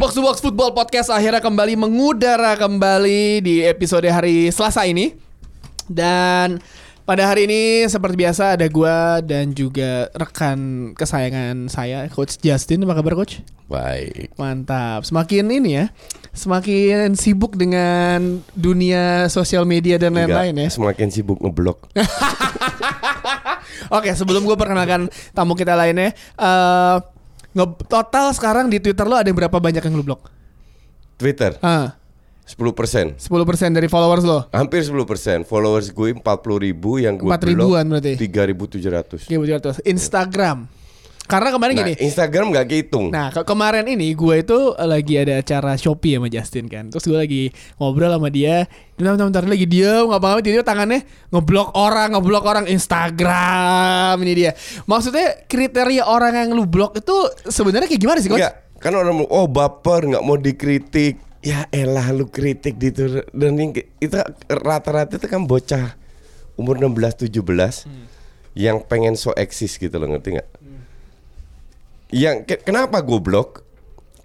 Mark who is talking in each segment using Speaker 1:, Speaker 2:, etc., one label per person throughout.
Speaker 1: Box to Box Football Podcast akhirnya kembali mengudara kembali di episode hari Selasa ini. Dan pada hari ini seperti biasa ada gua dan juga rekan kesayangan saya Coach Justin. Apa kabar Coach?
Speaker 2: Baik.
Speaker 1: Mantap. Semakin ini ya, semakin sibuk dengan dunia sosial media dan lain-lain ya.
Speaker 2: Enggak, Semakin sibuk ngeblok.
Speaker 1: Oke, sebelum gue perkenalkan tamu kita lainnya, eh nge- total sekarang di Twitter lo ada yang berapa banyak yang lo blok?
Speaker 2: Twitter
Speaker 1: Ah,
Speaker 2: 10%.
Speaker 1: 10% dari followers lo.
Speaker 2: Hampir 10% Followers gue 40 ribu Yang gue
Speaker 1: 4 ribuan berarti.
Speaker 2: 3.700
Speaker 1: Oke, Bu Jarto. Iya, Instagram. Karena kemarin
Speaker 2: Nah
Speaker 1: gini.
Speaker 2: Instagram gak kehitung
Speaker 1: Nah, ke- kemarin ini gue itu eh, lagi ada acara Shopee sama Justin kan. Terus gue lagi ngobrol sama dia. Bentar, bentar, bentar, lagi diem, nggak apa-apa. Tiba-tiba tangannya ngeblok orang, ngeblok orang Instagram. Ini dia. Maksudnya kriteria orang yang lu blok itu sebenarnya kayak gimana sih, Coach?
Speaker 2: Enggak Kan orang mau Oh baper Gak mau dikritik Ya elah lu kritik di Twitter. Dan ini ke- itu rata-rata itu kan bocah Umur 16-17
Speaker 1: Hmm.
Speaker 2: Yang pengen so eksis gitu loh Ngerti gak? Yang ke- kenapa gue blok?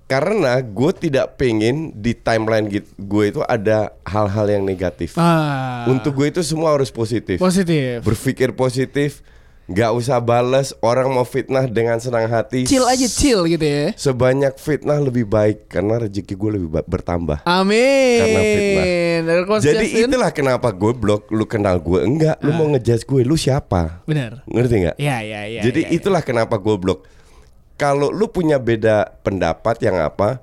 Speaker 2: Karena gue tidak pengen di timeline git- gue itu ada hal-hal yang negatif.
Speaker 1: Ah,
Speaker 2: Untuk gue itu semua harus positif.
Speaker 1: positif.
Speaker 2: Berpikir positif, nggak usah bales orang mau fitnah dengan senang hati.
Speaker 1: Chill aja, chill gitu ya.
Speaker 2: Sebanyak fitnah lebih baik karena rezeki gue lebih ba- bertambah.
Speaker 1: Amin.
Speaker 2: Karena fitnah.
Speaker 1: Dari Coach
Speaker 2: Jadi
Speaker 1: Justin.
Speaker 2: itulah kenapa gue blok. Lu kenal gue enggak?
Speaker 3: Ah.
Speaker 2: Lu mau ngejudge gue? Lu siapa?
Speaker 1: Benar.
Speaker 2: Ngerti nggak?
Speaker 3: Iya,
Speaker 1: Ya, ya, ya. ya,
Speaker 2: Jadi
Speaker 1: ya.
Speaker 2: itulah kenapa gue blok. Kalau lu punya beda pendapat yang apa,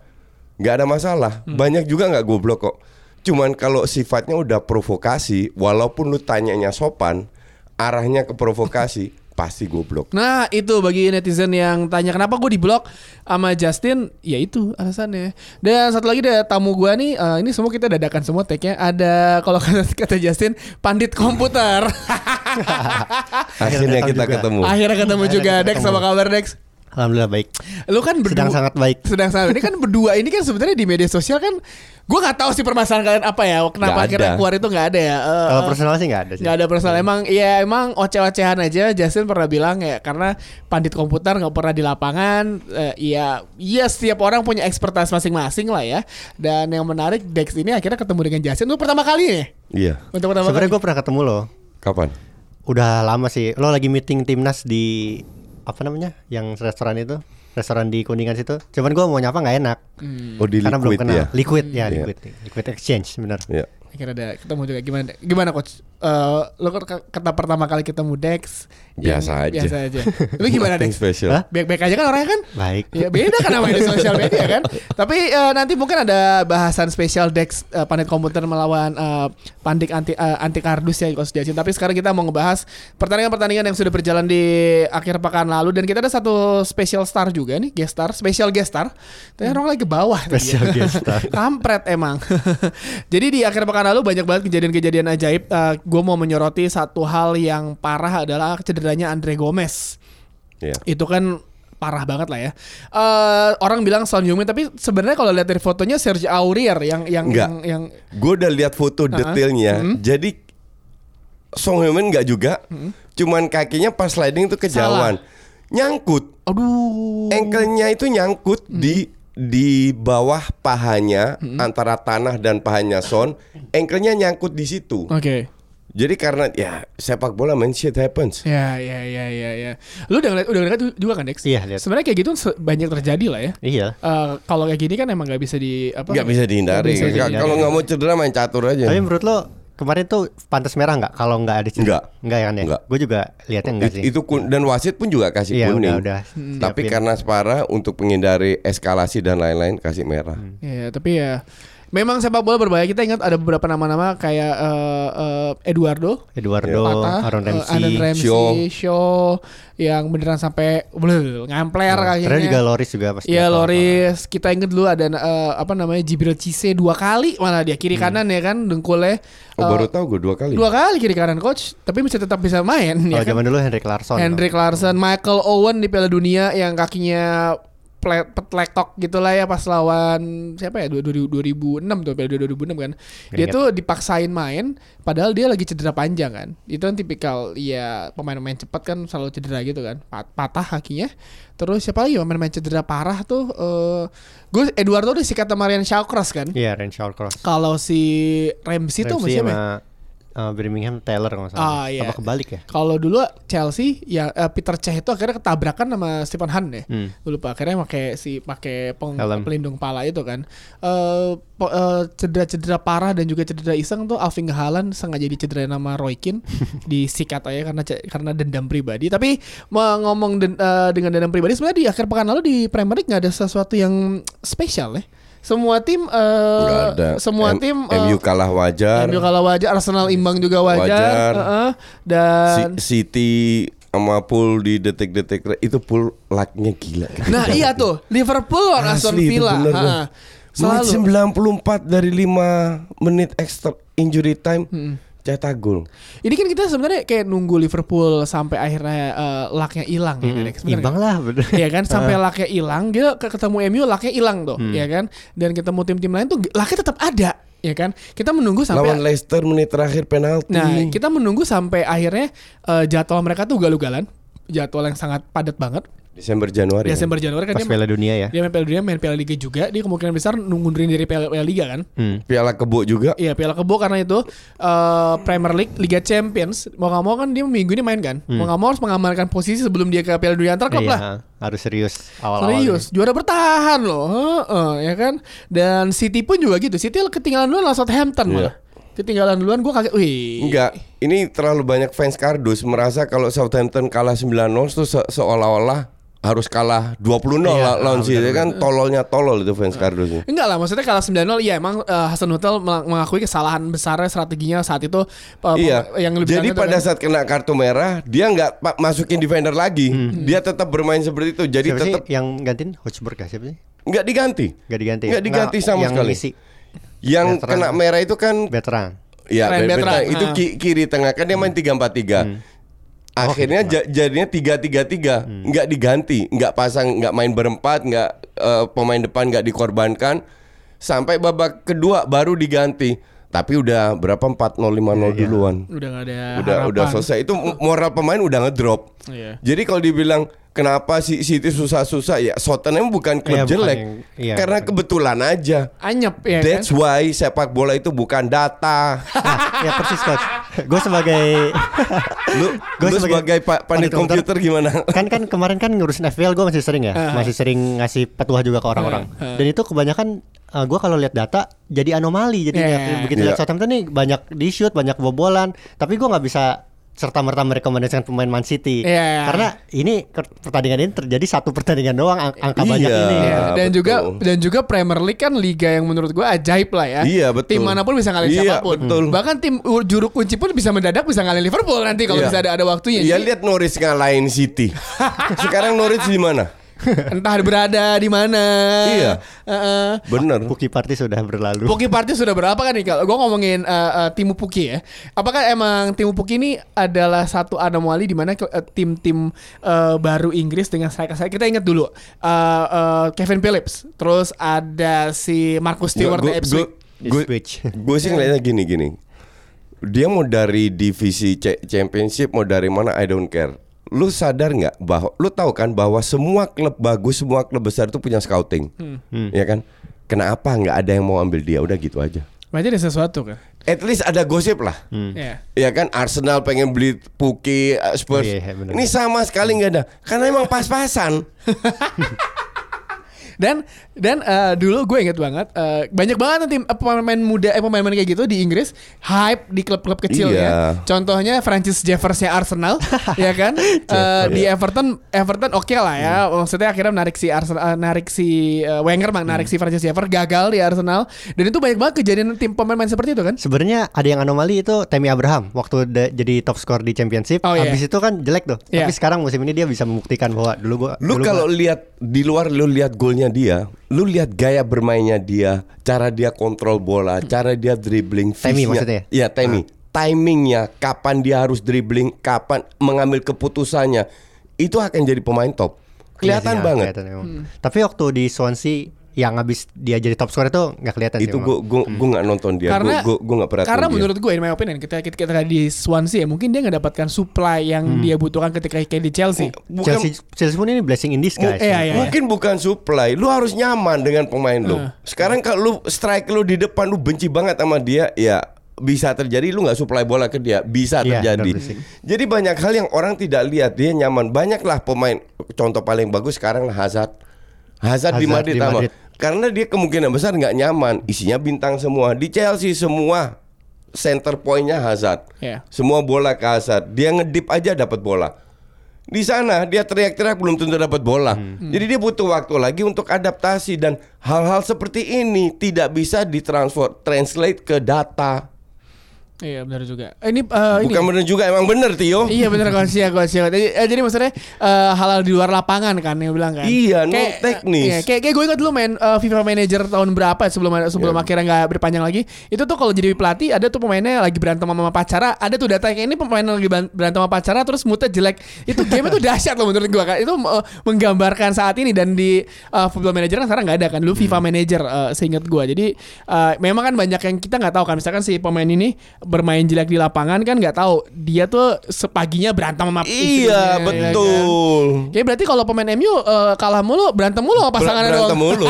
Speaker 2: nggak ada masalah.
Speaker 3: Hmm.
Speaker 2: Banyak juga nggak gue blok kok. Cuman kalau sifatnya udah provokasi, walaupun lu tanyanya sopan, arahnya ke provokasi, pasti gue blok.
Speaker 1: Nah itu bagi netizen yang tanya kenapa gue diblok sama Justin Ya itu alasannya Dan satu lagi ada tamu gue nih eh, Ini semua kita dadakan semua tag-nya Ada kalau kata, kata Justin Pandit komputer
Speaker 2: Akhirnya
Speaker 3: datang
Speaker 2: kita
Speaker 3: juga.
Speaker 2: ketemu.
Speaker 1: Akhirnya ketemu
Speaker 3: Akhirnya
Speaker 1: juga
Speaker 3: kita
Speaker 1: Dex
Speaker 3: ketemu.
Speaker 1: sama kabar Dex
Speaker 3: Alhamdulillah baik.
Speaker 1: Lu kan berdua
Speaker 3: Sedang sangat baik.
Speaker 1: Sedang sangat Ini kan berdua Ini kan sebenarnya di media sosial kan Gue gak tahu sih permasalahan kalian apa ya Kenapa
Speaker 2: Nggak
Speaker 1: akhirnya
Speaker 2: ada.
Speaker 1: keluar itu gak ada ya Eh,
Speaker 3: Kalau
Speaker 1: eh,
Speaker 3: personal sih
Speaker 2: Iya
Speaker 3: nggak ada sih.
Speaker 1: Gak ada personal emang ya emang oceh-ocehan aja Justin pernah bilang ya karena pandit komputer nggak pernah di lapangan eh, ya ya setiap orang punya ekspertas masing-masing lah ya dan yang menarik Dex ini akhirnya ketemu dengan Justin itu pertama kali nih
Speaker 2: Iya.
Speaker 1: untuk pertama
Speaker 3: Sebenarnya
Speaker 1: kali
Speaker 3: gue pernah ketemu lo.
Speaker 2: Kapan?
Speaker 3: Udah lama sih. Lo lagi meeting timnas di apa namanya? Yang restoran itu, restoran di Kuningan situ. Cuman gue mau nyapa nggak enak
Speaker 1: Hmm.
Speaker 2: Oh di
Speaker 3: Hmm, karena belum
Speaker 2: liquid
Speaker 3: kenal.
Speaker 2: ya.
Speaker 3: Liquid ya,
Speaker 2: Iya.
Speaker 3: liquid, liquid exchange benar.
Speaker 2: Iya.
Speaker 1: akhirnya ada ketemu juga gimana gimana coach Eh, lo kan kata pertama kali ketemu Dex yang-
Speaker 2: Biasa aja.
Speaker 1: biasa aja lu gimana
Speaker 2: Nothing
Speaker 1: Dex
Speaker 2: special.
Speaker 3: Hah?
Speaker 1: baik-baik aja kan orangnya kan
Speaker 3: Baik.
Speaker 1: Ya beda kan namanya di sosial media kan. Tapi eh, nanti mungkin ada bahasan spesial Dex eh, Pandit Komputer melawan eh, Pandik anti eh, anti kardus ya Coach Jasin. Tapi sekarang kita mau ngebahas pertandingan-pertandingan yang sudah berjalan di akhir pekan lalu dan kita ada satu special star juga nih, guest star, special guest star. Tapi orang lagi ke bawah tadi ya.
Speaker 3: Special guest star.
Speaker 1: Kampret emang. Jadi di akhir pekan lalu banyak banget kejadian-kejadian ajaib. gue mau menyoroti satu hal yang parah adalah cederanya Andre Gomez
Speaker 2: Iya.
Speaker 1: itu kan parah banget lah ya. Eh orang bilang Son Heung-min tapi sebenarnya kalau lihat dari fotonya Serge Aurier yang yang
Speaker 2: Enggak.
Speaker 1: yang, yang
Speaker 2: Gue udah lihat foto detailnya.
Speaker 1: Hmm?
Speaker 2: Jadi Song Heung-min nggak juga. Cuman kakinya pas sliding tuh kejauhan. Nyangkut.
Speaker 1: aduh.
Speaker 2: Engkelnya itu nyangkut
Speaker 1: Hmm.
Speaker 2: di di bawah pahanya antara tanah dan pahanya Son. Engkelnya nyangkut di situ.
Speaker 1: Oke.
Speaker 2: Jadi karena ya sepak bola man shit happens.
Speaker 1: Ya ya ya ya ya. Lu udah ngeliat udah ngeliat juga kan Dex?
Speaker 3: Iya, lihat.
Speaker 1: Sebenarnya kayak gitu se- banyak terjadi lah ya.
Speaker 3: Iya.
Speaker 1: Eh kalau kayak gini kan emang nggak bisa di apa?
Speaker 2: Nggak bisa
Speaker 1: Nggak
Speaker 2: dihindari.
Speaker 1: bisa
Speaker 2: Ka-
Speaker 3: dihindari.
Speaker 2: Kalau nggak mau cedera main catur aja.
Speaker 3: Tapi menurut lo kemarin tuh pantas merah nggak? Kalau nggak ada cedera?
Speaker 2: Nggak.
Speaker 3: Nggak ya kan ya?
Speaker 2: Nggak.
Speaker 3: Gue juga lihatnya nggak
Speaker 2: It-
Speaker 3: sih.
Speaker 2: itu kun- dan wasit pun juga kasih
Speaker 3: Iya,
Speaker 2: kuning.
Speaker 3: udah, udah.
Speaker 1: Hmm.
Speaker 2: Tapi
Speaker 3: Siapin. Hmm.
Speaker 2: karena Spara untuk menghindari eskalasi dan lain-lain kasih merah.
Speaker 1: Ya Iya, tapi ya Memang sepak bola berbahaya. Kita ingat ada beberapa nama-nama kayak eh, eh, Eduardo,
Speaker 3: Eduardo,
Speaker 2: Iya.
Speaker 1: Patah,
Speaker 3: Aaron
Speaker 1: eh, Aaron
Speaker 3: Ramsey.
Speaker 1: Ramsey,
Speaker 2: Shaw.
Speaker 1: Shaw, yang beneran sampai bleh, ngampler kayaknya.
Speaker 3: Ternyata Nah, juga Loris juga pasti.
Speaker 1: Iya
Speaker 3: ya, apa-apa.
Speaker 1: Loris, kita inget dulu ada eh, apa namanya Jibril Cisse dua kali malah dia kiri kanan ya kan dengkulnya Eh,
Speaker 2: Oh, baru tahu gue dua kali.
Speaker 1: dua kali kiri kanan coach, tapi bisa tetap bisa main ya
Speaker 3: Kalau
Speaker 1: kan.
Speaker 3: zaman dulu Henrik Larsson.
Speaker 1: Hendrik Larsson, Michael Owen di Piala Dunia yang kakinya ple- petlekok gitulah ya pas lawan siapa ya du- du- 2006 tuh Piala Dunia 2006 kan. Dia
Speaker 3: Ingat.
Speaker 1: tuh dipaksain main padahal dia lagi cedera panjang kan. Itu kan tipikal ya pemain-pemain cepat kan selalu cedera gitu kan. Pa- Patah kakinya. Terus siapa lagi ya pemain-pemain cedera parah tuh eh gue Eduardo udah sikat sama Ryan Shawcross kan.
Speaker 3: Iya, Ren Shawcross.
Speaker 1: Kalau si Ramsey tuh ya?
Speaker 3: Ramsey
Speaker 1: masih
Speaker 3: sama uh, Birmingham Taylor kalau nggak
Speaker 1: Ah,
Speaker 3: salah.
Speaker 1: iya.
Speaker 3: Apa kebalik ya?
Speaker 1: Kalau dulu Chelsea ya eh, Peter Cech itu akhirnya ketabrakan sama Stephen Hunt ya.
Speaker 3: Hmm.
Speaker 1: Gue lupa akhirnya pakai si pakai peng-
Speaker 3: Helm.
Speaker 1: pelindung pala itu kan. Eh, po- eh, cedera-cedera parah dan juga cedera iseng tuh Alvin Haaland sengaja dicederain nama Roy Keane disikat aja karena ce- karena dendam pribadi. Tapi me- ngomong den- eh, dengan dendam pribadi sebenarnya di akhir pekan lalu di Premier League nggak ada sesuatu yang spesial ya. Semua tim eh,
Speaker 2: Nggak ada.
Speaker 1: semua
Speaker 2: M-
Speaker 1: tim eh,
Speaker 2: MU kalah wajar.
Speaker 1: MU kalau wajar, Arsenal imbang juga wajar,
Speaker 2: Wajar.
Speaker 1: heeh.
Speaker 2: Si-
Speaker 1: dan
Speaker 2: City sama pool di detik-detik re- itu pool like-nya gila.
Speaker 1: nah iya tuh Liverpool lawan Aston
Speaker 2: Asli, itu
Speaker 1: Villa,
Speaker 2: bener
Speaker 1: ha.
Speaker 2: tuh. Menit
Speaker 1: selalu
Speaker 2: 94 dari 5 menit extra injury time
Speaker 1: Hmm.
Speaker 2: cetak gol.
Speaker 1: ini kan kita sebenarnya kayak nunggu Liverpool sampai akhirnya eh, lucknya hilang ya kan, sebenarnya.
Speaker 3: Imbang lah bener.
Speaker 1: Iya kan sampai
Speaker 2: Ah.
Speaker 1: lucknya hilang dia ke- ketemu MU lucknya hilang tuh
Speaker 2: Hmm.
Speaker 1: ya kan dan ketemu tim-tim lain tuh lucknya tetap ada ya kan kita menunggu sampai
Speaker 2: Lawan Leicester menit terakhir penalti.
Speaker 1: Nah, kita menunggu sampai akhirnya eh, jadwal mereka tuh galugalan, jadwal yang sangat padat banget.
Speaker 2: Desember Januari.
Speaker 1: Desember Januari kan
Speaker 3: Pas
Speaker 1: dia
Speaker 3: Piala Dunia ya.
Speaker 1: dia main Piala Dunia, main Piala Liga juga. Dia kemungkinan besar nungguin dari Piala, Piala Liga kan.
Speaker 3: Hmm.
Speaker 2: Piala Kebo juga.
Speaker 1: Iya Piala Kebo karena itu eh, Premier League, Liga Champions mau nggak mau kan dia minggu ini main kan.
Speaker 2: Hmm.
Speaker 1: Mau nggak mau harus mengamankan posisi sebelum dia ke Piala Dunia antar klub
Speaker 3: Iya,
Speaker 1: lah.
Speaker 3: harus serius awal-awal. gitu.
Speaker 1: Serius,
Speaker 2: ya.
Speaker 1: juara bertahan loh, Heeh, ya kan? Dan City pun juga gitu. City ketinggalan duluan lawan Southampton
Speaker 2: Iya.
Speaker 1: malah. Ketinggalan duluan gue kaget. Wih.
Speaker 2: Enggak, ini terlalu banyak fans kardus merasa kalau Southampton kalah 9-0 itu se- seolah-olah harus kalah 20-0
Speaker 3: Iya,
Speaker 1: ah,
Speaker 2: la- lawan City
Speaker 3: benar-benar.
Speaker 2: kan tololnya tolol itu fans kardus ini.
Speaker 1: Enggak lah, maksudnya kalah 9-0 ya emang eh, Hasan Hotel meng- mengakui kesalahan besarnya strateginya saat itu eh,
Speaker 2: Iya.
Speaker 1: yang lebih kan
Speaker 2: Jadi pada saat kena kartu merah, dia nggak pa- masukin defender lagi.
Speaker 1: Hmm.
Speaker 2: Hmm. Dia tetap bermain seperti itu. Jadi
Speaker 3: Siapa sih
Speaker 2: tetap
Speaker 3: yang gantiin Hotspur kah siapa sih?
Speaker 2: nggak diganti.
Speaker 3: Gak diganti. ya?
Speaker 2: Nggak diganti sama
Speaker 3: yang
Speaker 2: sekali.
Speaker 3: Ngisi
Speaker 2: Yang
Speaker 3: Veteran.
Speaker 2: kena merah itu kan
Speaker 3: veteran.
Speaker 2: ya
Speaker 1: Keren,
Speaker 2: veteran.
Speaker 1: veteran.
Speaker 2: itu
Speaker 1: Ah.
Speaker 2: ki- kiri tengah kan dia main 3-4-3. Akhirnya ja- jadinya 3-3-3, nggak diganti, nggak pasang, nggak main berempat, nggak eh, pemain depan nggak dikorbankan. Sampai babak kedua baru diganti. Tapi udah berapa 4-0 5-0 duluan.
Speaker 1: udah nggak ada
Speaker 2: Udah
Speaker 1: Nah, harapan.
Speaker 2: udah selesai. Itu moral pemain udah ngedrop.
Speaker 1: Iya.
Speaker 2: Jadi kalau dibilang kenapa si City susah-susah ya Tottenham bukan klub
Speaker 3: Iya, bukan
Speaker 2: jelek.
Speaker 3: yang- iya.
Speaker 2: Karena kebetulan aja.
Speaker 1: Anyep ya kan.
Speaker 2: That's why sepak bola itu bukan data.
Speaker 3: Nah, ya persis coach. Gue sebagai
Speaker 2: lu
Speaker 3: Gua
Speaker 2: lu
Speaker 3: sebagai
Speaker 2: sebagai, pa-
Speaker 3: pandit
Speaker 2: pandit komputer gimana?
Speaker 3: kan kan kemarin kan ngurusin FPL gue masih sering ya,
Speaker 1: Ah.
Speaker 3: masih sering ngasih petuah juga ke orang-orang. Dan itu kebanyakan eh, gua gue kalau lihat data jadi anomali. Jadi
Speaker 1: Iya.
Speaker 3: lihat- begitu
Speaker 2: Iya.
Speaker 3: lihat Southampton nih banyak di shoot, banyak bobolan, tapi gua nggak bisa serta merta merekomendasikan pemain Man City
Speaker 1: Iya.
Speaker 3: karena ini ke- pertandingan ini terjadi satu pertandingan doang ang- angka banyak
Speaker 2: Iya.
Speaker 3: ini.
Speaker 1: Iya, dan
Speaker 2: betul.
Speaker 1: juga dan juga Premier League kan liga yang menurut gua ajaib lah ya.
Speaker 2: Iya, betul.
Speaker 1: Tim manapun bisa ngalahin
Speaker 2: Iya,
Speaker 1: siapapun.
Speaker 2: betul.
Speaker 1: Bahkan tim u- juru kunci pun bisa mendadak bisa ngalahin Liverpool nanti kalau
Speaker 2: Iya.
Speaker 1: bisa ada ada waktunya.
Speaker 2: Ya
Speaker 1: Jadi,
Speaker 2: lihat Norwich ngalahin City. Sekarang Norwich di mana?
Speaker 1: entah berada di mana.
Speaker 2: Iya.
Speaker 1: Heeh.
Speaker 2: Bener.
Speaker 3: Puki Party sudah berlalu.
Speaker 1: Puki Party sudah berapa kan nih kalau gua ngomongin eh, eh, Timu Puki ya. Apakah emang Timu Puki ini adalah satu anomali di mana ke- eh, tim-tim eh, baru Inggris dengan striker saya kita ingat dulu eh, eh, Kevin Phillips, terus ada si Marcus Stewart di
Speaker 2: Gua-
Speaker 1: Ipswich.
Speaker 2: gua-
Speaker 3: Ipswich.
Speaker 2: Gue sih ngeliatnya gini gini. Dia mau dari divisi C- championship mau dari mana I don't care. Lu sadar nggak bahwa lu tahu kan bahwa semua klub bagus, semua klub besar itu punya scouting. Ya kan? Kenapa nggak ada yang mau ambil dia? Udah gitu aja.
Speaker 1: Berarti ada sesuatu kan?
Speaker 2: At least ada gosip lah.
Speaker 1: Iya.
Speaker 2: Ya kan Arsenal pengen beli Puki eh, Spurs.
Speaker 3: Iya, iya, bener.
Speaker 2: Ini sama sekali nggak ada. Karena emang pas-pasan.
Speaker 1: Dan dan eh, dulu gue inget banget eh, banyak banget nanti eh, pemain muda eh pemain-pemain kayak gitu di Inggris hype di klub-klub kecil
Speaker 2: Iya.
Speaker 1: ya. Contohnya Francis Jeffersnya Arsenal ya kan. Eh, di
Speaker 2: Iya.
Speaker 1: Everton Everton oke lah ya.
Speaker 2: Hmm.
Speaker 1: Maksudnya akhirnya menarik si Arsenal eh, narik si eh, Wenger bang,
Speaker 2: Hmm.
Speaker 1: narik si Francis Jeffer gagal di Arsenal. Dan itu banyak banget kejadian tim pemain-pemain seperti itu kan.
Speaker 3: Sebenarnya ada yang anomali itu Tammy Abraham waktu da- jadi top skor di championship.
Speaker 1: Oh, iya.
Speaker 3: Habis itu kan jelek tuh.
Speaker 1: Iya.
Speaker 3: Tapi sekarang musim ini dia bisa membuktikan bahwa dulu gua
Speaker 2: Lu
Speaker 3: dulu
Speaker 2: kalau
Speaker 3: gua-
Speaker 2: lihat di luar lu lihat golnya dia, lu lihat gaya bermainnya dia, cara dia kontrol bola, cara dia dribbling,
Speaker 3: Hmm. Timing
Speaker 2: visinya.
Speaker 3: maksudnya? ya? Ah.
Speaker 2: Iya, timing. Timingnya, kapan dia harus dribbling, kapan mengambil keputusannya, itu akan jadi pemain top. Kelihatan
Speaker 3: Iya sih,
Speaker 2: banget.
Speaker 3: kelihatan memang. Tapi waktu di Swansea yang habis dia jadi top skor itu nggak kelihatan sih
Speaker 2: Itu
Speaker 3: memang. Hmm.
Speaker 2: gua gua gua nggak nonton dia,
Speaker 1: karena
Speaker 2: Iya, gua gua, gua nggak perhatiin
Speaker 1: karena
Speaker 2: dia.
Speaker 1: menurut gue in my opinion kita kita, kita tadi di Swansea ya mungkin dia nggak dapatkan supply yang
Speaker 2: Hmm.
Speaker 1: dia butuhkan ketika kayak di Chelsea
Speaker 2: Bukan- Oh,
Speaker 3: Chelsea, Chelsea pun ini blessing in
Speaker 1: Mu-
Speaker 3: disguise.
Speaker 1: iya, iya.
Speaker 2: Mungkin bukan supply, lu harus nyaman dengan pemain lu. Sekarang kalau lu strike lu di depan lu benci banget sama dia, ya bisa terjadi lu nggak supply bola ke dia, bisa
Speaker 3: Iya,
Speaker 2: terjadi.
Speaker 3: benar, berisik.
Speaker 2: Jadi banyak hal yang orang tidak lihat dia nyaman. Banyaklah pemain contoh paling bagus sekarang lah Hazard. Hazard, di
Speaker 3: Hazard
Speaker 2: Madrid,
Speaker 3: di
Speaker 2: sama.
Speaker 3: Madrid.
Speaker 2: Karena dia kemungkinan besar nggak nyaman, isinya bintang semua. Di Chelsea semua center pointnya Hazard.
Speaker 1: Iya.
Speaker 2: Semua bola ke Hazard. Dia ngedip aja dapat bola. Di sana dia teriak-teriak belum tentu dapat bola.
Speaker 1: Hmm.
Speaker 2: Jadi dia butuh waktu lagi untuk adaptasi dan hal-hal seperti ini tidak bisa ditransfer translate ke data.
Speaker 1: iya benar juga Eh, ini eh, ini
Speaker 2: Bukan bener juga emang bener Tio.
Speaker 1: iya benar Gosia Gosia jadi, eh, jadi maksudnya eh, halal di luar lapangan kan yang bilang kan
Speaker 2: Iya, non
Speaker 1: Kayak-
Speaker 2: teknis.
Speaker 1: iya, kayak kayak gue ingat dulu main eh, FIFA Manager tahun berapa ya sebelum sebelum
Speaker 2: Iya.
Speaker 1: akhirnya nggak berpanjang lagi itu tuh kalau jadi pelatih ada tuh pemainnya lagi berantem sama pacara ada tuh data kayak ini pemain lagi ban- berantem sama pacara terus moodnya jelek itu game itu dahsyat loh menurut gue kan itu eh, menggambarkan saat ini dan di eh, Football Manager kan sekarang nggak ada kan dulu FIFA
Speaker 2: Hmm.
Speaker 1: Manager eh, seingat gue jadi eh, memang kan banyak yang kita nggak tahu kan misalkan si pemain ini bermain jelek di lapangan kan nggak tahu dia tuh sepaginya berantem sama istrinya,
Speaker 2: Iya,
Speaker 1: ya kan?
Speaker 2: betul.
Speaker 1: Oke berarti kalau pemain MU eh, kalah mulu berantem mulu sama pasangan
Speaker 2: Ber- berantem mulu.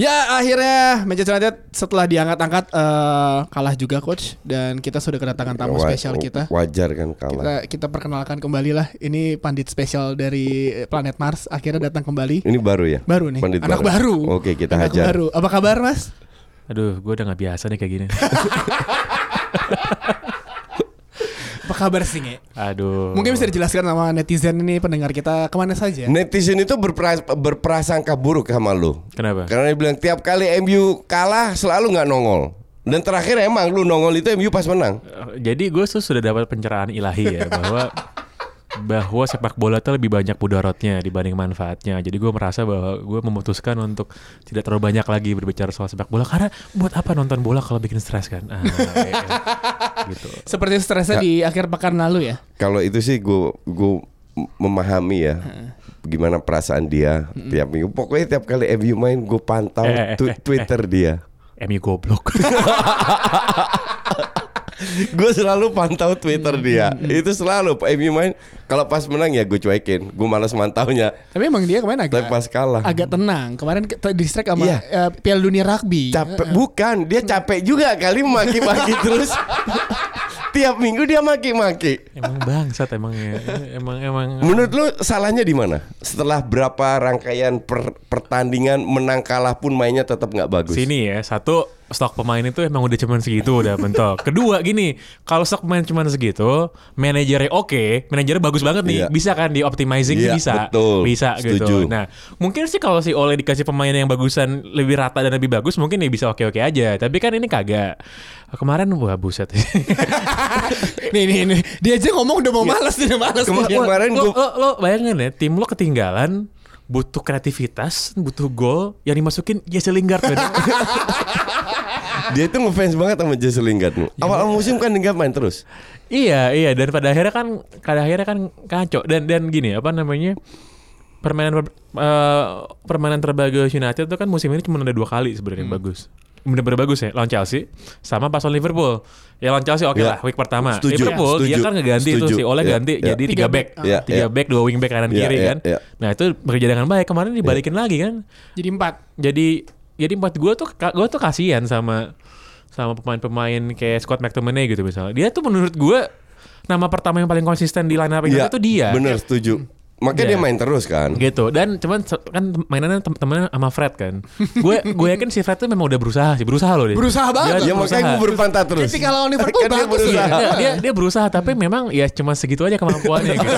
Speaker 1: ya akhirnya Manchester United setelah diangkat-angkat eh, kalah juga coach dan kita sudah kedatangan tamu
Speaker 2: Wa-
Speaker 1: spesial kita.
Speaker 2: Wajar kan kalah.
Speaker 1: Kita kita perkenalkan kembali lah ini pandit spesial dari eh, planet Mars akhirnya datang kembali.
Speaker 2: Ini baru ya?
Speaker 1: Baru nih,
Speaker 2: Pandit
Speaker 1: anak baru.
Speaker 2: Oke, kita
Speaker 1: Anak
Speaker 2: hajar.
Speaker 1: baru. Apa kabar Mas?
Speaker 4: Aduh, gue udah gak biasa nih kayak gini.
Speaker 1: Apa kabar Singe?
Speaker 4: Aduh.
Speaker 1: Mungkin bisa dijelaskan sama netizen ini pendengar kita kemana saja.
Speaker 2: Netizen itu berpras- berprasangka buruk sama lu.
Speaker 4: Kenapa?
Speaker 2: Karena dia bilang tiap kali MU kalah selalu nggak nongol. Dan terakhir emang lu nongol itu MU pas menang.
Speaker 4: Eh, Jadi gue tuh sudah dapat pencerahan ilahi ya bahwa bahwa sepak bola tuh lebih banyak mudaratnya dibanding manfaatnya. Jadi gue merasa bahwa gue memutuskan untuk tidak terlalu banyak lagi berbicara soal sepak bola karena buat apa nonton bola kalau bikin stres kan? Ah, iya, iya. gitu.
Speaker 1: Seperti stresnya di akhir pekan lalu ya.
Speaker 2: Kalau itu sih gue gue memahami ya gimana perasaan dia tiap minggu. Pokoknya tiap kali MU main gue pantau
Speaker 4: Eh, eh,
Speaker 2: tu-
Speaker 4: eh,
Speaker 2: Twitter dia.
Speaker 4: MU eh, goblok.
Speaker 2: Gue selalu pantau Twitter dia. Itu selalu MU main kalau pas menang ya gue cuekin. Gue malas mantaunya.
Speaker 1: Tapi emang dia kemarin agak
Speaker 2: Tapi pas kalah
Speaker 1: agak tenang. Kemarin kita distract sama
Speaker 2: Iya.
Speaker 1: eh, Piala Dunia Rugby.
Speaker 2: capek bukan dia capek juga kali maki-maki terus tiap minggu dia maki-maki
Speaker 4: emang bangsat emang ya. Emang emang
Speaker 2: menurut lu salahnya di mana setelah berapa rangkaian per- pertandingan menang kalah pun mainnya tetap nggak bagus
Speaker 4: Sini ya, satu stok pemain itu emang udah cuman segitu udah bentuk. Kedua gini, kalau stok pemain cuman segitu, manajernya oke, manajernya bagus banget nih,
Speaker 2: Iya.
Speaker 4: bisa kan di optimizing sih
Speaker 2: Iya,
Speaker 4: bisa,
Speaker 2: betul.
Speaker 4: bisa gitu.
Speaker 2: Setuju.
Speaker 4: Nah, mungkin sih kalau si Oleh dikasih pemain yang bagusan lebih rata dan lebih bagus, mungkin ya bisa oke oke aja. Tapi kan ini kagak. Kemarin wah buset.
Speaker 1: nih nih nih. Dia aja ngomong udah mau
Speaker 2: Iya.
Speaker 1: males nih, udah males.
Speaker 2: Kema-
Speaker 1: nih.
Speaker 2: kemarin gue
Speaker 4: lo, lo, lo bayangin ya, tim lo ketinggalan, butuh kreativitas, butuh gol yang dimasukin Jesse Lingard. men.
Speaker 2: dia tuh ngefans banget sama Jesse Lingard nih. awal musim kan dia main terus
Speaker 4: Iya, iya dan pada akhirnya kan pada akhirnya kan kacau dan dan gini apa namanya? Permainan per- eh, permainan terbaik United itu kan musim ini cuma ada dua kali
Speaker 2: Hmm.
Speaker 4: sebenarnya yang bagus. Bener-bener bagus ya lawan Chelsea sama pas lawan Liverpool. Ya lawan Chelsea oke
Speaker 2: Ya.
Speaker 4: lah week pertama.
Speaker 2: Setuju,
Speaker 4: Liverpool
Speaker 2: setuju,
Speaker 4: dia kan ngeganti
Speaker 2: setuju.
Speaker 4: tuh si Oleh
Speaker 2: Ya,
Speaker 4: ganti
Speaker 2: ya.
Speaker 4: jadi
Speaker 1: Tiga
Speaker 4: tiga back.
Speaker 1: back,
Speaker 2: ah. Ya,
Speaker 4: tiga
Speaker 2: ya.
Speaker 4: back, dua wing back kanan
Speaker 2: Ya,
Speaker 4: kiri
Speaker 2: ya,
Speaker 4: kan.
Speaker 2: ya.
Speaker 4: Nah, itu bekerja dengan baik. Kemarin dibalikin lagi kan
Speaker 1: Jadi empat.
Speaker 4: jadi jadi buat gue tuh gue tuh kasihan sama sama pemain-pemain kayak Scott McTominay gitu misalnya dia tuh menurut gue nama pertama yang paling konsisten di line up Indonesia itu dia.
Speaker 2: Iya, Ya, Bener setuju. Makanya
Speaker 4: Iya.
Speaker 2: dia main terus kan.
Speaker 4: Gitu. Dan cuman se- kan tem- mainannya tem- temennya sama Fred kan. Gue gue yakin si Fred tuh memang udah berusaha sih, berusaha loh dia.
Speaker 1: Berusaha banget.
Speaker 2: Ya makanya gue berpantah terus.
Speaker 1: Ketika lawan Liverpool
Speaker 2: Kan dia
Speaker 1: bagus ya.
Speaker 2: berusaha.
Speaker 4: Iya, dia dia berusaha tapi memang ya cuma segitu aja kemampuannya gitu.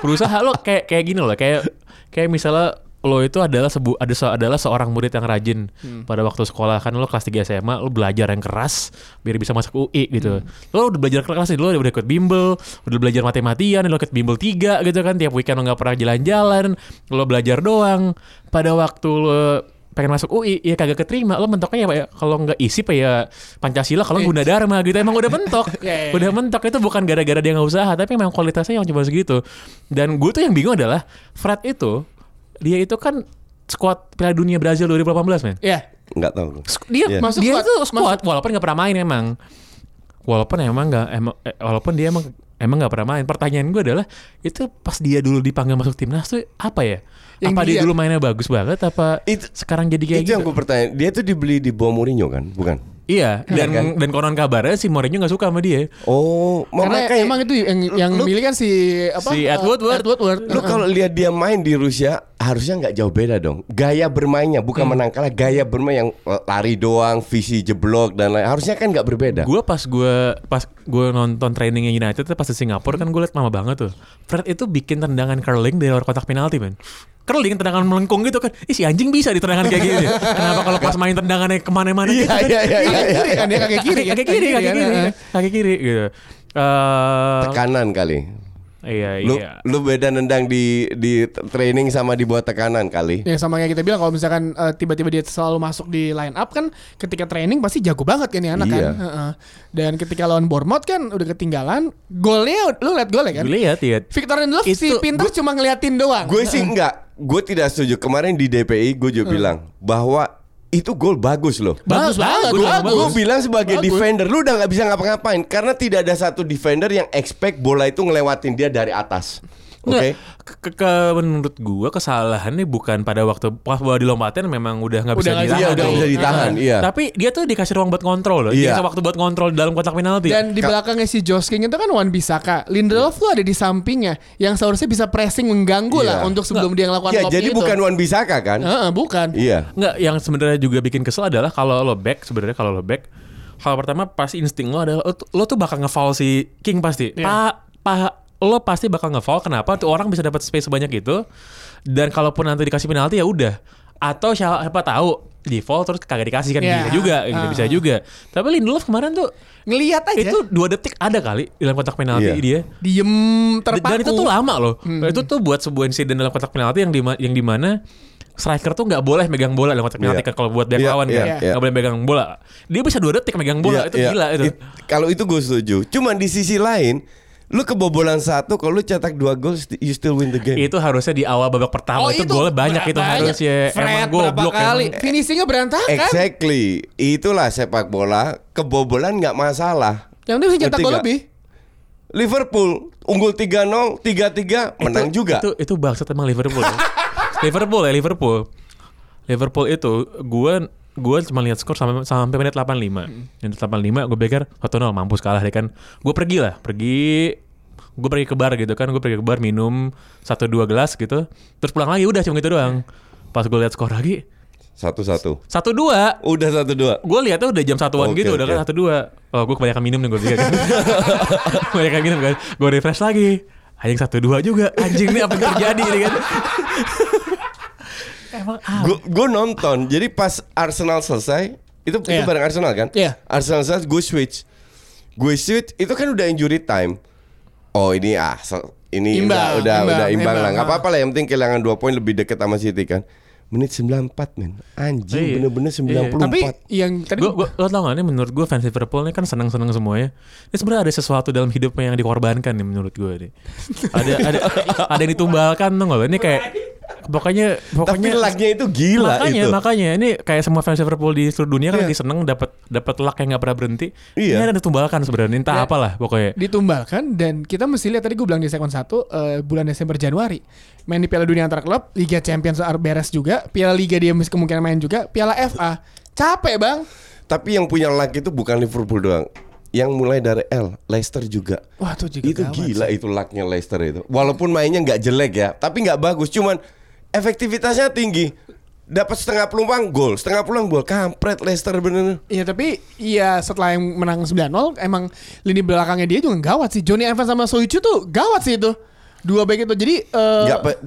Speaker 4: Berusaha lo kayak kayak gini loh, kayak kayak misalnya lo itu adalah sebu ada se- adalah seorang murid yang rajin
Speaker 1: Hmm.
Speaker 4: pada waktu sekolah kan lo kelas 3 SMA lo belajar yang keras biar bisa masuk UI gitu.
Speaker 1: Hmm.
Speaker 4: Lo udah belajar keras nih, lo udah ikut bimbel, udah belajar mati-matian, lo ikut bimbel 3 gitu kan tiap weekend lo nggak pernah jalan-jalan, lo belajar doang. Pada waktu lo pengen masuk UI ya kagak keterima lo mentoknya ya Pak, ya kalau nggak isi pak ya Pancasila kalau nggak Gunadarma gitu emang udah mentok
Speaker 1: Eh. Ya, ya, ya.
Speaker 4: udah mentok itu bukan gara-gara dia nggak usaha tapi memang kualitasnya yang cuma segitu dan gue tuh yang bingung adalah Fred itu dia itu kan squad Piala Dunia Brazil 2018 men
Speaker 1: Iya.
Speaker 2: Nggak tahu. gue.
Speaker 4: dia
Speaker 2: Iya.
Speaker 1: Masuk
Speaker 4: dia
Speaker 1: squad,
Speaker 4: itu squad walaupun nggak pernah main emang walaupun emang nggak emang eh, walaupun dia emang emang nggak pernah main pertanyaan gue adalah itu pas dia dulu dipanggil masuk timnas tuh apa ya
Speaker 1: Yang
Speaker 4: apa dia
Speaker 1: dilihat.
Speaker 4: dulu mainnya bagus banget apa
Speaker 2: Itu-
Speaker 4: sekarang jadi kayak
Speaker 2: Itu
Speaker 4: gitu
Speaker 2: yang gue pertanyaan. Dia tuh dibeli di bawah Mourinho kan, bukan?
Speaker 4: Iya, dan
Speaker 2: kan?
Speaker 4: dan konon kabarnya si Mourinho nggak suka sama dia.
Speaker 2: Oh,
Speaker 1: Karena
Speaker 2: makanya
Speaker 1: emang itu yang yang
Speaker 2: lu-
Speaker 1: milih kan si apa?
Speaker 4: Si
Speaker 1: eh,
Speaker 4: Ed
Speaker 1: Ed
Speaker 4: Woodward.
Speaker 1: Woodward.
Speaker 2: lu kalau lihat dia main di Rusia harusnya nggak jauh beda dong. Gaya bermainnya bukan menang kalah, gaya bermain yang eh, lari doang, visi jeblok dan lain. Harusnya kan nggak berbeda.
Speaker 4: Gue pas gue pas gue nonton trainingnya United tuh pas di Singapura kan gue liat lama banget tuh. Fred itu bikin tendangan curling dari luar kotak penalti men. Curling tendangan melengkung gitu kan. Ih si anjing bisa di tendangan kayak gini. Kenapa kalau pas main tendangannya kemana-mana gitu kan.
Speaker 2: iya, iya,
Speaker 1: Kaki kiri kan dia kaki kiri. kan?
Speaker 4: Kaki kiri, kaki kiri,
Speaker 1: kan?
Speaker 4: kaki kiri gitu. Eh,
Speaker 2: Tekanan kali.
Speaker 4: iya
Speaker 2: Lu
Speaker 4: iya.
Speaker 2: lu beda nendang di di training sama di bawah tekanan kali.
Speaker 1: Ya sama kayak kita bilang kalau misalkan eh, tiba-tiba dia selalu masuk di line up kan ketika training pasti jago banget kan nih anak
Speaker 2: Iya.
Speaker 1: kan. Heeh. Dan ketika lawan Bournemouth kan udah ketinggalan, golnya lu lihat golnya kan.
Speaker 4: Gue lihat lihat.
Speaker 1: Victor Lindelof
Speaker 4: Itu-
Speaker 1: si pintar cuma ngeliatin doang.
Speaker 2: Gue sih nggak, gue tidak setuju. Kemarin di DPI gue juga bilang bahwa itu gol bagus loh.
Speaker 1: bagus banget,
Speaker 4: bagus,
Speaker 1: bagus.
Speaker 2: Gue bilang sebagai
Speaker 1: Bagus.
Speaker 2: defender lu udah nggak bisa ngapa-ngapain karena tidak ada satu defender yang expect bola itu ngelewatin dia dari atas. Oke.
Speaker 4: Oke. Ke, ke, menurut gua kesalahannya bukan pada waktu pas bola dilompatin memang udah nggak
Speaker 1: Udah
Speaker 4: bisa
Speaker 1: nggak
Speaker 4: ditahan.
Speaker 2: Iya udah
Speaker 4: tuh.
Speaker 2: bisa ditahan. Iya.
Speaker 4: Tapi dia tuh dikasih ruang buat kontrol loh.
Speaker 2: Iya.
Speaker 4: Dia waktu buat kontrol di dalam kotak penalti.
Speaker 1: Dan di belakangnya si Josh King itu kan Wan Bisaka. Lindelof tuh ada di sampingnya yang seharusnya bisa pressing mengganggu lah
Speaker 2: Iya.
Speaker 1: untuk sebelum dia ngelakukan
Speaker 2: Ya
Speaker 1: lob
Speaker 2: jadi
Speaker 1: itu.
Speaker 2: bukan Wan Bisaka kan?
Speaker 1: Heeh, bukan.
Speaker 2: Iya.
Speaker 4: Nggak, yang sebenarnya juga bikin kesel adalah kalau lo back sebenarnya kalau lo back hal pertama pasti insting lo adalah lo, tuh- lo tuh bakal nge-foul si King pasti.
Speaker 1: Iya.
Speaker 4: Pa, pa, lo pasti bakal nge-foul kenapa tuh orang bisa dapat space sebanyak itu dan kalaupun nanti dikasih penalti ya udah atau siapa, siapa tahu di foul terus kagak dikasih kan
Speaker 1: Iya.
Speaker 4: bisa juga gitu,
Speaker 1: Ah.
Speaker 4: bisa juga. Tapi Lindelof kemarin tuh
Speaker 1: Ngeliat aja.
Speaker 4: itu dua detik ada kali di dalam kotak penalti
Speaker 2: Iya.
Speaker 4: dia.
Speaker 1: diem terpaku. Hmm.
Speaker 4: Dan itu tuh lama loh. Itu tuh buat sebuah insiden dalam kotak penalti yang di yang dimana striker tuh nggak boleh megang bola dalam kotak penalti
Speaker 2: Iya.
Speaker 4: kan kalau buat back
Speaker 2: Iya,
Speaker 4: lawan
Speaker 2: iya,
Speaker 4: kan
Speaker 2: iya.
Speaker 4: nggak boleh megang bola. Dia bisa dua detik megang
Speaker 2: Iya,
Speaker 4: bola itu
Speaker 2: iya.
Speaker 4: gila itu.
Speaker 2: It- kalau itu gue setuju. Cuman di sisi lain, lu kebobolan satu, kalau lu cetak dua gol, st- you still win the game.
Speaker 4: Itu kan? harusnya di awal babak
Speaker 1: Oh,
Speaker 4: pertama itu, golnya banyak itu harusnya
Speaker 1: Fred
Speaker 4: emang goblok
Speaker 1: berapa kali finishingnya berantakan.
Speaker 2: Exactly. Itulah sepak bola. Kebobolan nggak masalah.
Speaker 1: Yang dia bisa cetak
Speaker 2: Ngerti
Speaker 1: gol
Speaker 2: nggak?
Speaker 1: lebih.
Speaker 2: Liverpool unggul 3-0, 3-3,
Speaker 4: Emang.
Speaker 2: menang
Speaker 4: Itu-
Speaker 2: juga.
Speaker 4: Itu itu bangsat emang Liverpool. ya. Liverpool ya Liverpool. Liverpool itu gue gue cuma lihat skor sampai sampai menit 85.
Speaker 2: Hmm.
Speaker 4: Menit 85 gue pikir 1-0 mampus kalah deh kan. Gue pergi lah, pergi gue pergi ke bar gitu kan, gue pergi ke bar minum satu dua gelas gitu, terus pulang lagi udah cuma gitu doang.
Speaker 2: Iya.
Speaker 4: Pas gue lihat skor lagi
Speaker 2: Satu-satu.
Speaker 4: satu dua,
Speaker 2: Udah satu-dua.
Speaker 4: gue liatnya udah jam satuan
Speaker 2: Oke,
Speaker 4: gitu udah
Speaker 2: oke.
Speaker 4: kan satu dua oh gue kebanyakan minum nih gue pikir kan kebanyakan minum kan gue refresh lagi anjing satu dua juga anjing nih apa yang terjadi nih kan emang ah,
Speaker 2: Gue nonton. Jadi pas Arsenal selesai, itu itu
Speaker 1: Iya.
Speaker 2: bareng Arsenal kan?
Speaker 1: Iya.
Speaker 2: Arsenal selesai, gue switch. Gue switch, itu kan udah injury time. Oh ini ah, so- ini
Speaker 1: Imbang,
Speaker 2: udah udah
Speaker 1: imbang,
Speaker 2: udah imbang, lah.
Speaker 1: imbang,
Speaker 2: Gak
Speaker 1: ah.
Speaker 2: apa-apa lah. Yang penting kehilangan dua poin lebih deket sama City kan. Menit 94 men. Anjing
Speaker 4: Iya.
Speaker 2: bener-bener
Speaker 4: Iya.
Speaker 2: 94.
Speaker 1: Tapi yang tadi
Speaker 4: gue gue lo tau gak nih menurut gue fans Liverpool nih kan seneng seneng semuanya ini sebenarnya ada sesuatu dalam hidupnya yang dikorbankan nih menurut gue nih ada ada ada yang ditumbalkan tuh gak lo ini kayak pokoknya
Speaker 2: Tapi
Speaker 4: pokoknya
Speaker 2: lagnya itu gila
Speaker 4: makanya
Speaker 2: itu.
Speaker 4: makanya ini kayak semua fans Liverpool di seluruh dunia
Speaker 2: Iya.
Speaker 4: kan lagi seneng dapat dapat luck yang nggak pernah berhenti.
Speaker 2: Iya.
Speaker 4: Ini ada tumbalkan sebenarnya entah
Speaker 1: Dan-
Speaker 4: apalah pokoknya.
Speaker 1: ditumbalkan dan kita mesti lihat tadi gue bilang di segmen 1 bulan Desember Januari main di Piala Dunia antar klub, Liga Champions ar- beres juga, Piala Liga dia mesti kemungkinan main juga, Piala FA. Capek, Bang.
Speaker 2: Tapi yang punya luck itu bukan Liverpool doang. yang mulai dari L, Leicester juga.
Speaker 1: Wah tuh juga
Speaker 2: itu
Speaker 1: gawat
Speaker 2: gila
Speaker 1: sih.
Speaker 2: itu lucknya Leicester itu. Walaupun mainnya nggak jelek ya, tapi nggak bagus. Cuman efektivitasnya tinggi. Dapat setengah peluang gol, setengah peluang gol. Kampret Leicester bener.
Speaker 1: Iya tapi iya setelah yang menang 9-0 emang lini belakangnya dia juga gawat sih. Johnny Evans sama Soichu tuh gawat sih itu. Dua back itu jadi eh,
Speaker 2: Nggak pe-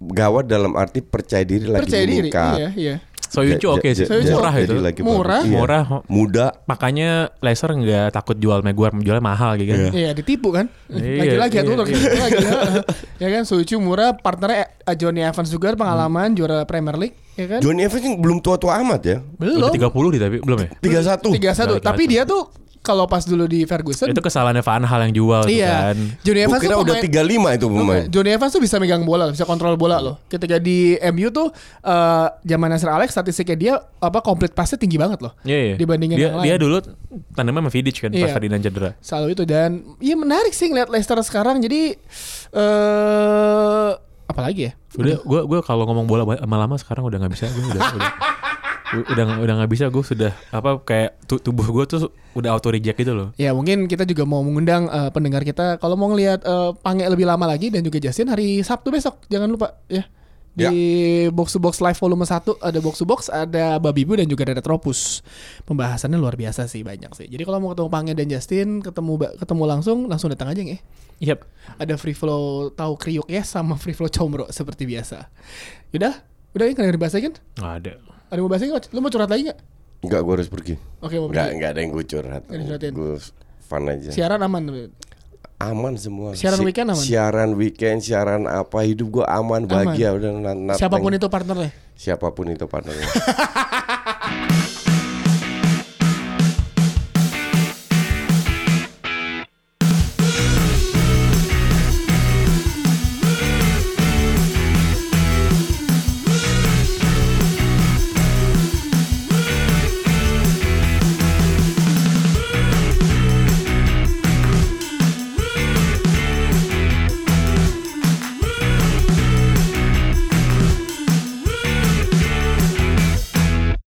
Speaker 2: gawat dalam arti percaya diri lagi
Speaker 1: percaya diri.
Speaker 2: meningkat.
Speaker 1: Iya, iya.
Speaker 4: Soyuncu
Speaker 2: Ja-
Speaker 4: oke
Speaker 2: ja-
Speaker 4: sih.
Speaker 2: ja-
Speaker 1: Soyuncu
Speaker 4: Murah
Speaker 1: oke.
Speaker 4: itu.
Speaker 2: jadi lagi bagus.
Speaker 1: Murah.
Speaker 2: Iya.
Speaker 4: Murah.
Speaker 2: Muda.
Speaker 4: Makanya Leicester nggak takut jual Maguire, jualnya mahal gitu kan.
Speaker 1: Iya ditipu kan
Speaker 4: Iya,
Speaker 1: Lagi-lagi ya
Speaker 4: iya,
Speaker 1: tuh
Speaker 4: iya.
Speaker 1: lagi-lagi Ya kan Soichu murah Partnernya eh, Johnny Evans juga
Speaker 4: Hmm.
Speaker 1: pengalaman juara Premier League Ya kan
Speaker 2: Johnny Evans yang belum tua-tua amat ya.
Speaker 1: Belum
Speaker 4: Tiga puluh tapi belum ya.
Speaker 1: 31
Speaker 2: 31.
Speaker 4: Lagi-lagi.
Speaker 1: Tapi dia tuh Kalau pas dulu di Ferguson
Speaker 4: Itu kesalahannya Van Hal yang jual tuh
Speaker 1: Iya
Speaker 4: kan.
Speaker 1: Johnny
Speaker 2: Gua
Speaker 1: Evans
Speaker 2: kira
Speaker 1: tuh
Speaker 2: udah
Speaker 1: pemain-
Speaker 2: 35 itu pemain.
Speaker 1: Enggak, Johnny Evans tuh bisa megang bola, bisa kontrol bola loh. Ketika di MU tuh eh, zaman Nasir Alex statistiknya dia apa complete passnya tinggi banget loh.
Speaker 4: Iya, iya.
Speaker 1: Dibandingin
Speaker 4: dia,
Speaker 1: yang lain.
Speaker 4: dia dulu tandemnya sama Vidic kan pas
Speaker 1: Iya.
Speaker 4: Ferdinand cedera.
Speaker 1: Selalu itu dan ya menarik sih ngeliat Leicester sekarang. Jadi eh apalagi ya?
Speaker 4: Udah, gue gua kalau ngomong bola ba- lama-lama sekarang udah nggak bisa. Gue udah, udah, u- udah udah nggak bisa. Gue sudah apa kayak tu- tubuh gue tuh udah auto reject gitu loh.
Speaker 1: Ya mungkin kita juga mau mengundang eh, pendengar kita kalau mau ngelihat eh, Pange lebih lama lagi dan juga Justin hari Sabtu besok jangan lupa ya di box to box live volume 1 ada box to box ada babi bu dan juga ada retropus pembahasannya luar biasa sih banyak sih jadi kalau mau ketemu Pange dan Justin ketemu ba- ketemu langsung langsung datang aja nggih
Speaker 4: Yap.
Speaker 1: ada free flow tahu kriuk ya sama free flow comro seperti biasa udah udah ya nggak ada yang dibahas lagi kan
Speaker 4: Nggak ada.
Speaker 1: ada yang mau bahas lagi nggak? lu mau curhat lagi nggak
Speaker 2: Enggak, gue harus pergi.
Speaker 1: oke mau
Speaker 2: Enggak,
Speaker 1: pergi.
Speaker 2: enggak ada yang gue curhat.
Speaker 1: Nggak dicurhatin.
Speaker 2: Gue fun aja.
Speaker 1: siaran aman
Speaker 2: aman semua.
Speaker 1: Siaran
Speaker 2: Si-
Speaker 1: weekend aman?
Speaker 2: Siaran weekend, siaran apa hidup gue aman, bahagia udah not- nothing.
Speaker 1: siapapun itu partnernya
Speaker 2: Siapapun itu partnernya.